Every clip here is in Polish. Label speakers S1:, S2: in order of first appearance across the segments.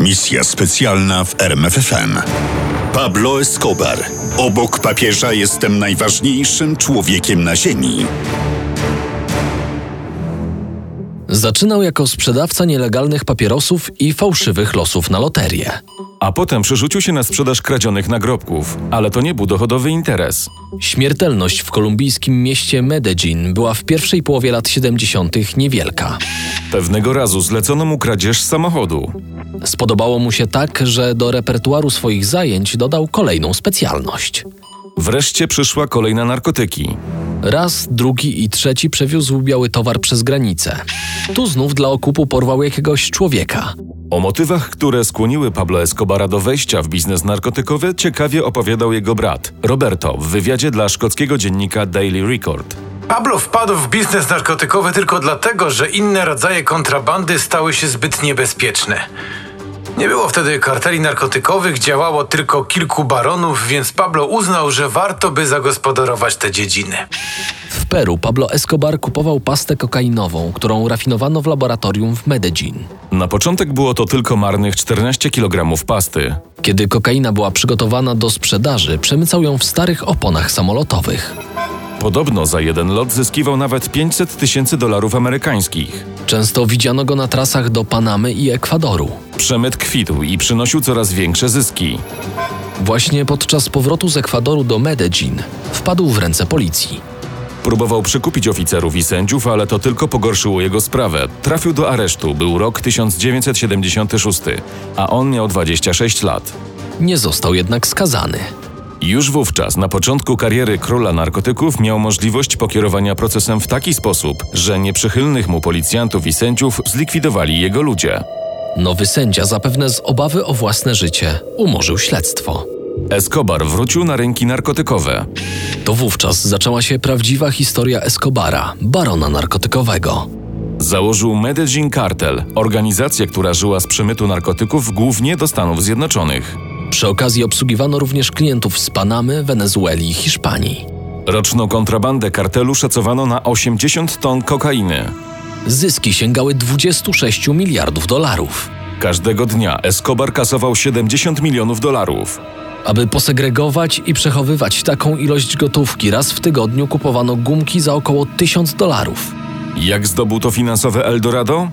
S1: Misja specjalna w RMFFM. Pablo Escobar. Obok papieża jestem najważniejszym człowiekiem na ziemi.
S2: Zaczynał jako sprzedawca nielegalnych papierosów i fałszywych losów na loterię.
S3: A potem przerzucił się na sprzedaż kradzionych nagrobków, ale to nie był dochodowy interes.
S2: Śmiertelność w kolumbijskim mieście Medellin była w pierwszej połowie lat 70. niewielka.
S3: Pewnego razu zlecono mu kradzież samochodu.
S2: Spodobało mu się tak, że do repertuaru swoich zajęć dodał kolejną specjalność.
S3: Wreszcie przyszła kolej na narkotyki.
S2: Raz, drugi i trzeci przewiózł biały towar przez granicę. Tu znów dla okupu porwał jakiegoś człowieka.
S3: O motywach, które skłoniły Pablo Escobara do wejścia w biznes narkotykowy, ciekawie opowiadał jego brat, Roberto, w wywiadzie dla szkockiego dziennika Daily Record.
S4: Pablo wpadł w biznes narkotykowy tylko dlatego, że inne rodzaje kontrabandy stały się zbyt niebezpieczne. Nie było wtedy karteli narkotykowych, działało tylko kilku baronów, więc Pablo uznał, że warto by zagospodarować te dziedziny.
S2: W Peru Pablo Escobar kupował pastę kokainową, którą rafinowano w laboratorium w Medellin.
S3: Na początek było to tylko marnych 14 kg pasty.
S2: Kiedy kokaina była przygotowana do sprzedaży, przemycał ją w starych oponach samolotowych.
S3: Podobno za jeden lot zyskiwał nawet 500 tysięcy dolarów amerykańskich.
S2: Często widziano go na trasach do Panamy i Ekwadoru.
S3: Przemyt kwitł i przynosił coraz większe zyski.
S2: Właśnie podczas powrotu z Ekwadoru do Medellin wpadł w ręce policji.
S3: Próbował przekupić oficerów i sędziów, ale to tylko pogorszyło jego sprawę. Trafił do aresztu, był rok 1976, a on miał 26 lat.
S2: Nie został jednak skazany.
S3: Już wówczas, na początku kariery króla narkotyków, miał możliwość pokierowania procesem w taki sposób, że nieprzychylnych mu policjantów i sędziów zlikwidowali jego ludzie.
S2: Nowy sędzia, zapewne z obawy o własne życie, umorzył śledztwo.
S3: Escobar wrócił na rynki narkotykowe.
S2: To wówczas zaczęła się prawdziwa historia Escobara, barona narkotykowego.
S3: Założył Medellin Cartel, organizację, która żyła z przemytu narkotyków głównie do Stanów Zjednoczonych.
S2: Przy okazji obsługiwano również klientów z Panamy, Wenezueli i Hiszpanii.
S3: Roczną kontrabandę kartelu szacowano na 80 ton kokainy.
S2: Zyski sięgały 26 miliardów dolarów.
S3: Każdego dnia Escobar kasował 70 milionów dolarów.
S2: Aby posegregować i przechowywać taką ilość gotówki, raz w tygodniu kupowano gumki za około 1000 dolarów.
S3: Jak zdobył to finansowe Eldorado?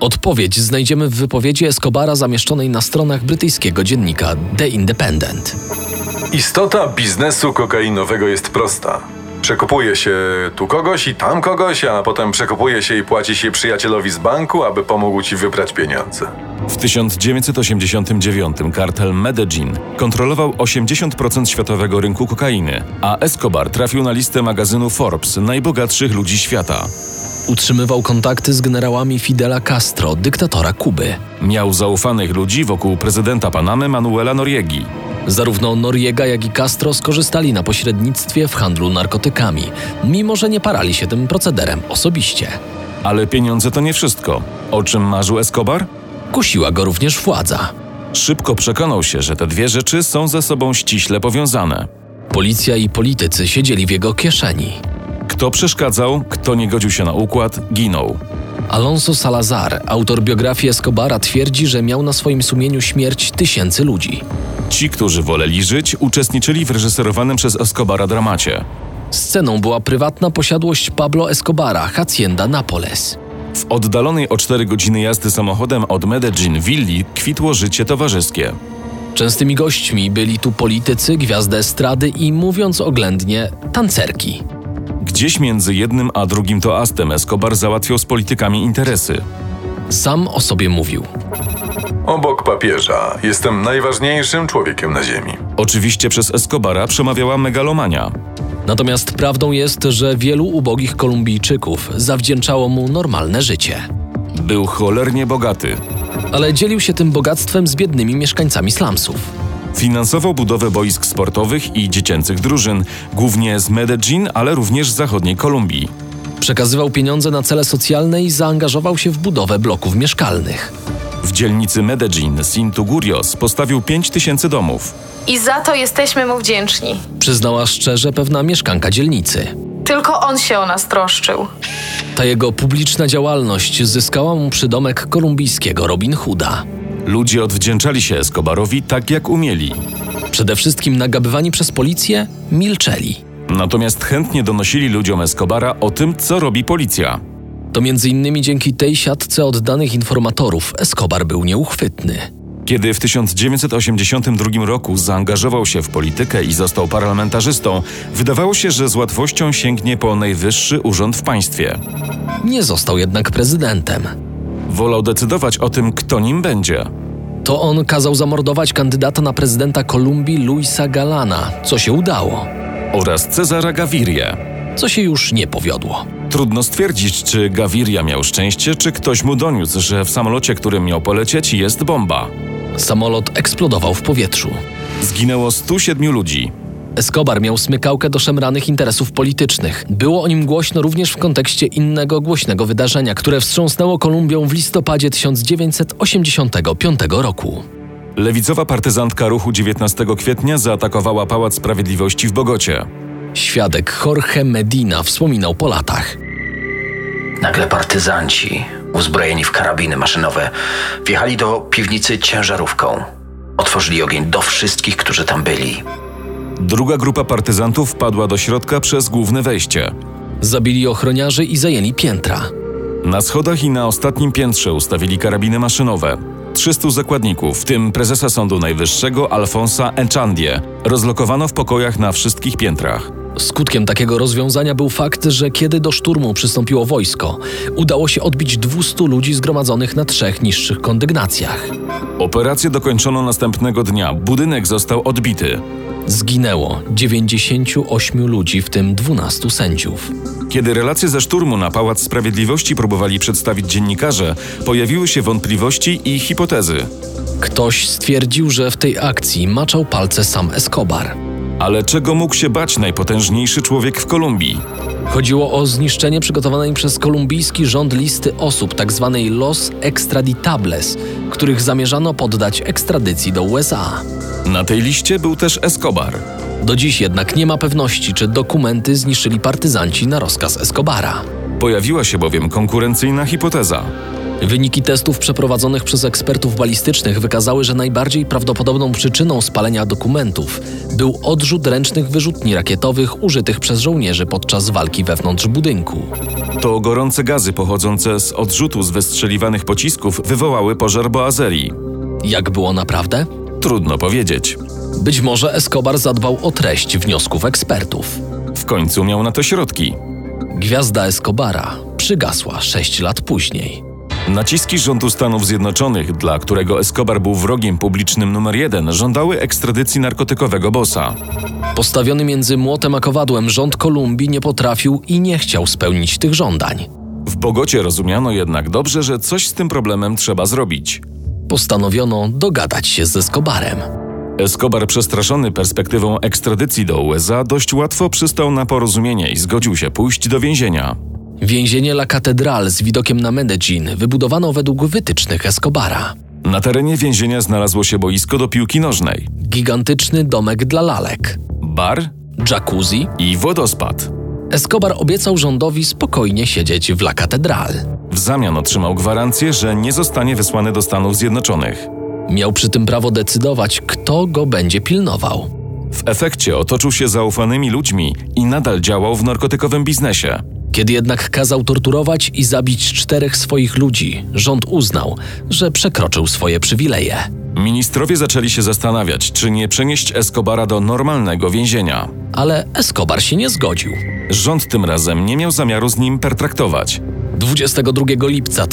S2: Odpowiedź znajdziemy w wypowiedzi Escobara zamieszczonej na stronach brytyjskiego dziennika The Independent.
S5: Istota biznesu kokainowego jest prosta. Przekupuje się tu kogoś i tam kogoś, a potem przekupuje się i płaci się przyjacielowi z banku, aby pomógł ci wybrać pieniądze.
S3: W 1989 kartel Medellin kontrolował 80% światowego rynku kokainy, a Escobar trafił na listę magazynu Forbes najbogatszych ludzi świata.
S2: Utrzymywał kontakty z generałami Fidela Castro, dyktatora Kuby.
S3: Miał zaufanych ludzi wokół prezydenta Panamy Manuela Noriegi.
S2: Zarówno Noriega, jak i Castro skorzystali na pośrednictwie w handlu narkotykami, mimo że nie parali się tym procederem osobiście.
S3: Ale pieniądze to nie wszystko. O czym marzył Escobar?
S2: Kusiła go również władza.
S3: Szybko przekonał się, że te dwie rzeczy są ze sobą ściśle powiązane.
S2: Policja i politycy siedzieli w jego kieszeni.
S3: Kto przeszkadzał, kto nie godził się na układ, ginął.
S2: Alonso Salazar, autor biografii Escobara, twierdzi, że miał na swoim sumieniu śmierć tysięcy ludzi.
S3: Ci, którzy woleli żyć, uczestniczyli w reżyserowanym przez Escobara dramacie.
S2: Sceną była prywatna posiadłość Pablo Escobara, Hacienda Napoles.
S3: W oddalonej o 4 godziny jazdy samochodem od Medellin willi kwitło życie towarzyskie.
S2: Częstymi gośćmi byli tu politycy, gwiazdy estrady i, mówiąc oględnie, tancerki.
S3: Gdzieś między jednym a drugim toastem Escobar załatwiał z politykami interesy.
S2: Sam o sobie mówił.
S5: Obok papieża jestem najważniejszym człowiekiem na ziemi.
S3: Oczywiście przez Escobara przemawiała megalomania.
S2: Natomiast prawdą jest, że wielu ubogich Kolumbijczyków zawdzięczało mu normalne życie.
S3: Był cholernie bogaty.
S2: Ale dzielił się tym bogactwem z biednymi mieszkańcami slumsów.
S3: Finansował budowę boisk sportowych i dziecięcych drużyn, głównie z Medellin, ale również z zachodniej Kolumbii.
S2: Przekazywał pieniądze na cele socjalne i zaangażował się w budowę bloków mieszkalnych.
S3: W dzielnicy Medellin Sintugurios postawił 5000 domów.
S6: I za to jesteśmy mu wdzięczni.
S2: Przyznała szczerze pewna mieszkanka dzielnicy.
S6: Tylko on się o nas troszczył.
S2: Ta jego publiczna działalność zyskała mu przydomek kolumbijskiego Robin Hooda.
S3: Ludzie odwdzięczali się Escobarowi tak jak umieli.
S2: Przede wszystkim nagabywani przez policję milczeli.
S3: Natomiast chętnie donosili ludziom Escobara o tym, co robi policja.
S2: To między innymi dzięki tej siatce oddanych informatorów Escobar był nieuchwytny.
S3: Kiedy w 1982 roku zaangażował się w politykę i został parlamentarzystą, wydawało się, że z łatwością sięgnie po najwyższy urząd w państwie.
S2: Nie został jednak prezydentem.
S3: Wolał decydować o tym, kto nim będzie.
S2: To on kazał zamordować kandydata na prezydenta Kolumbii Luisa Galana, co się udało,
S3: Oraz Cezara Gaviria.
S2: co się już nie powiodło.
S3: Trudno stwierdzić, czy Gaviria miał szczęście, czy ktoś mu doniósł, że w samolocie, którym miał polecieć, jest bomba.
S2: Samolot eksplodował w powietrzu.
S3: Zginęło 107 ludzi.
S2: Escobar miał smykałkę do szemranych interesów politycznych. Było o nim głośno również w kontekście innego głośnego wydarzenia, które wstrząsnęło Kolumbią w listopadzie 1985 roku.
S3: Lewicowa partyzantka ruchu 19 kwietnia zaatakowała Pałac Sprawiedliwości w Bogocie.
S2: Świadek Jorge Medina wspominał po latach.
S7: Nagle partyzanci, uzbrojeni w karabiny maszynowe, wjechali do piwnicy ciężarówką. Otworzyli ogień do wszystkich, którzy tam byli.
S3: Druga grupa partyzantów wpadła do środka przez główne wejście.
S2: Zabili ochroniarzy i zajęli piętra.
S3: Na schodach i na ostatnim piętrze ustawili karabiny maszynowe. 300 zakładników, w tym prezesa Sądu Najwyższego Alfonsa Enchandie, rozlokowano w pokojach na wszystkich piętrach.
S2: Skutkiem takiego rozwiązania był fakt, że kiedy do szturmu przystąpiło wojsko, udało się odbić 200 ludzi zgromadzonych na trzech niższych kondygnacjach.
S3: Operację dokończono następnego dnia. Budynek został odbity.
S2: Zginęło 98 ludzi, w tym 12 sędziów.
S3: Kiedy relacje ze szturmu na Pałac Sprawiedliwości próbowali przedstawić dziennikarze, pojawiły się wątpliwości i hipotezy.
S2: Ktoś stwierdził, że w tej akcji maczał palce sam Escobar.
S3: Ale czego mógł się bać najpotężniejszy człowiek w Kolumbii?
S2: Chodziło o zniszczenie przygotowanej przez kolumbijski rząd listy osób, tzw. Los Extraditables, których zamierzano poddać ekstradycji do USA.
S3: Na tej liście był też Escobar.
S2: Do dziś jednak nie ma pewności, czy dokumenty zniszczyli partyzanci na rozkaz Escobara.
S3: Pojawiła się bowiem konkurencyjna hipoteza.
S2: Wyniki testów przeprowadzonych przez ekspertów balistycznych wykazały, że najbardziej prawdopodobną przyczyną spalenia dokumentów był odrzut ręcznych wyrzutni rakietowych użytych przez żołnierzy podczas walki wewnątrz budynku.
S3: To gorące gazy pochodzące z odrzutu z wystrzeliwanych pocisków wywołały pożar Boazerii.
S2: Jak było naprawdę?
S3: Trudno powiedzieć.
S2: Być może Escobar zadbał o treść wniosków ekspertów.
S3: W końcu miał na to środki.
S2: Gwiazda Escobara przygasła sześć lat później.
S3: Naciski rządu Stanów Zjednoczonych, dla którego Escobar był wrogiem publicznym numer jeden, żądały ekstradycji narkotykowego bossa.
S2: Postawiony między młotem a kowadłem, rząd Kolumbii nie potrafił i nie chciał spełnić tych żądań.
S3: W Bogocie rozumiano jednak dobrze, że coś z tym problemem trzeba zrobić.
S2: Postanowiono dogadać się z Escobarem.
S3: Escobar, przestraszony perspektywą ekstradycji do USA, dość łatwo przystał na porozumienie i zgodził się pójść do więzienia.
S2: Więzienie La Catedral z widokiem na Medellin wybudowano według wytycznych Escobara.
S3: Na terenie więzienia znalazło się boisko do piłki nożnej,
S2: Gigantyczny domek dla lalek,
S3: bar
S2: jacuzzi.
S3: i wodospad.
S2: Escobar obiecał rządowi spokojnie siedzieć w La Catedral.
S3: W zamian otrzymał gwarancję, że nie zostanie wysłany do Stanów Zjednoczonych.
S2: Miał przy tym prawo decydować, kto go będzie pilnował.
S3: W efekcie otoczył się zaufanymi ludźmi i nadal działał w narkotykowym biznesie.
S2: Kiedy jednak kazał torturować i zabić czterech swoich ludzi, rząd uznał, że przekroczył swoje przywileje.
S3: Ministrowie zaczęli się zastanawiać, czy nie przenieść Escobara do normalnego więzienia.
S2: Ale Escobar się nie zgodził.
S3: Rząd tym razem nie miał zamiaru z nim pertraktować.
S2: 22 lipca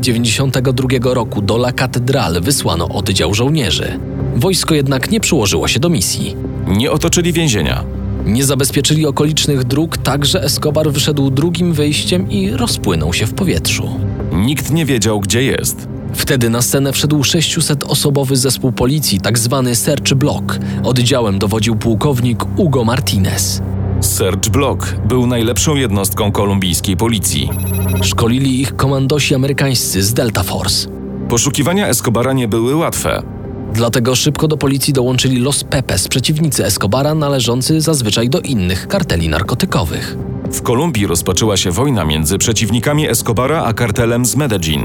S2: 1992 roku do La Catedral wysłano oddział żołnierzy. Wojsko jednak nie przyłożyło się do misji.
S3: Nie otoczyli więzienia.
S2: Nie zabezpieczyli okolicznych dróg, tak że Escobar wyszedł drugim wyjściem i rozpłynął się w powietrzu.
S3: Nikt nie wiedział, gdzie jest.
S2: Wtedy na scenę wszedł 600-osobowy zespół policji, tak zwany Search Block. Oddziałem dowodził pułkownik Hugo Martinez.
S3: Serge Block był najlepszą jednostką kolumbijskiej policji.
S2: Szkolili ich komandosi amerykańscy z Delta Force.
S3: Poszukiwania Escobara nie były łatwe.
S2: Dlatego szybko do policji dołączyli Los Pepes, przeciwnicy Escobara należący zazwyczaj do innych karteli narkotykowych.
S3: W Kolumbii rozpoczęła się wojna między przeciwnikami Escobara a kartelem z Medellin.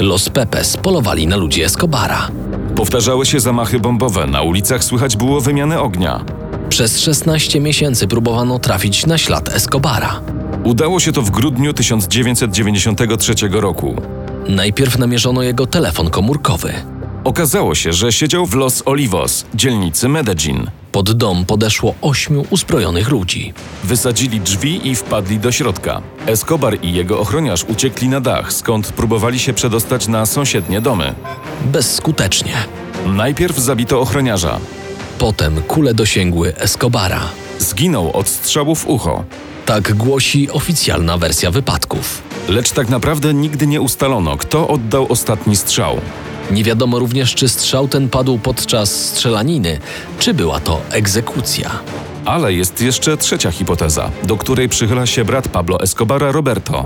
S2: Los Pepes polowali na ludzi Escobara.
S3: Powtarzały się zamachy bombowe, na ulicach słychać było wymianę ognia.
S2: Przez 16 miesięcy próbowano trafić na ślad Escobara.
S3: Udało się to w grudniu 1993 roku.
S2: Najpierw namierzono jego telefon komórkowy.
S3: Okazało się, że siedział w Los Olivos, dzielnicy Medellin.
S2: Pod dom podeszło ośmiu uzbrojonych ludzi.
S3: Wysadzili drzwi i wpadli do środka. Escobar i jego ochroniarz uciekli na dach, skąd próbowali się przedostać na sąsiednie domy.
S2: Bezskutecznie.
S3: Najpierw zabito ochroniarza.
S2: Potem kule dosięgły Escobara.
S3: Zginął od strzału w ucho.
S2: Tak głosi oficjalna wersja wypadków.
S3: Lecz tak naprawdę nigdy nie ustalono, kto oddał ostatni strzał.
S2: Nie wiadomo również, czy strzał ten padł podczas strzelaniny, czy była to egzekucja.
S3: Ale jest jeszcze trzecia hipoteza, do której przychyla się brat Pablo Escobara Roberto.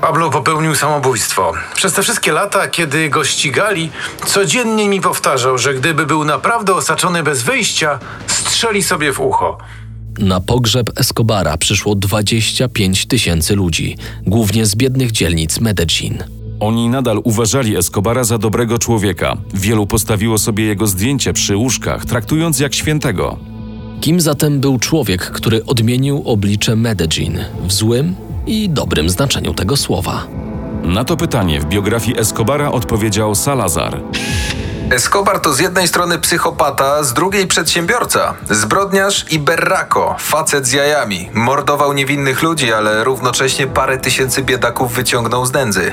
S4: Pablo popełnił samobójstwo. Przez te wszystkie lata, kiedy go ścigali, codziennie mi powtarzał, że gdyby był naprawdę osaczony bez wyjścia, strzeli sobie w ucho.
S2: Na pogrzeb Escobara przyszło 25 tysięcy ludzi, głównie z biednych dzielnic Medellin.
S3: Oni nadal uważali Escobara za dobrego człowieka. Wielu postawiło sobie jego zdjęcie przy łóżkach, traktując jak świętego.
S2: Kim zatem był człowiek, który odmienił oblicze Medellin w złym i dobrym znaczeniu tego słowa?
S3: Na to pytanie w biografii Escobara odpowiedział Salazar.
S8: Escobar to z jednej strony psychopata, z drugiej przedsiębiorca, zbrodniarz i berrako, facet z jajami. Mordował niewinnych ludzi, ale równocześnie parę tysięcy biedaków wyciągnął z nędzy.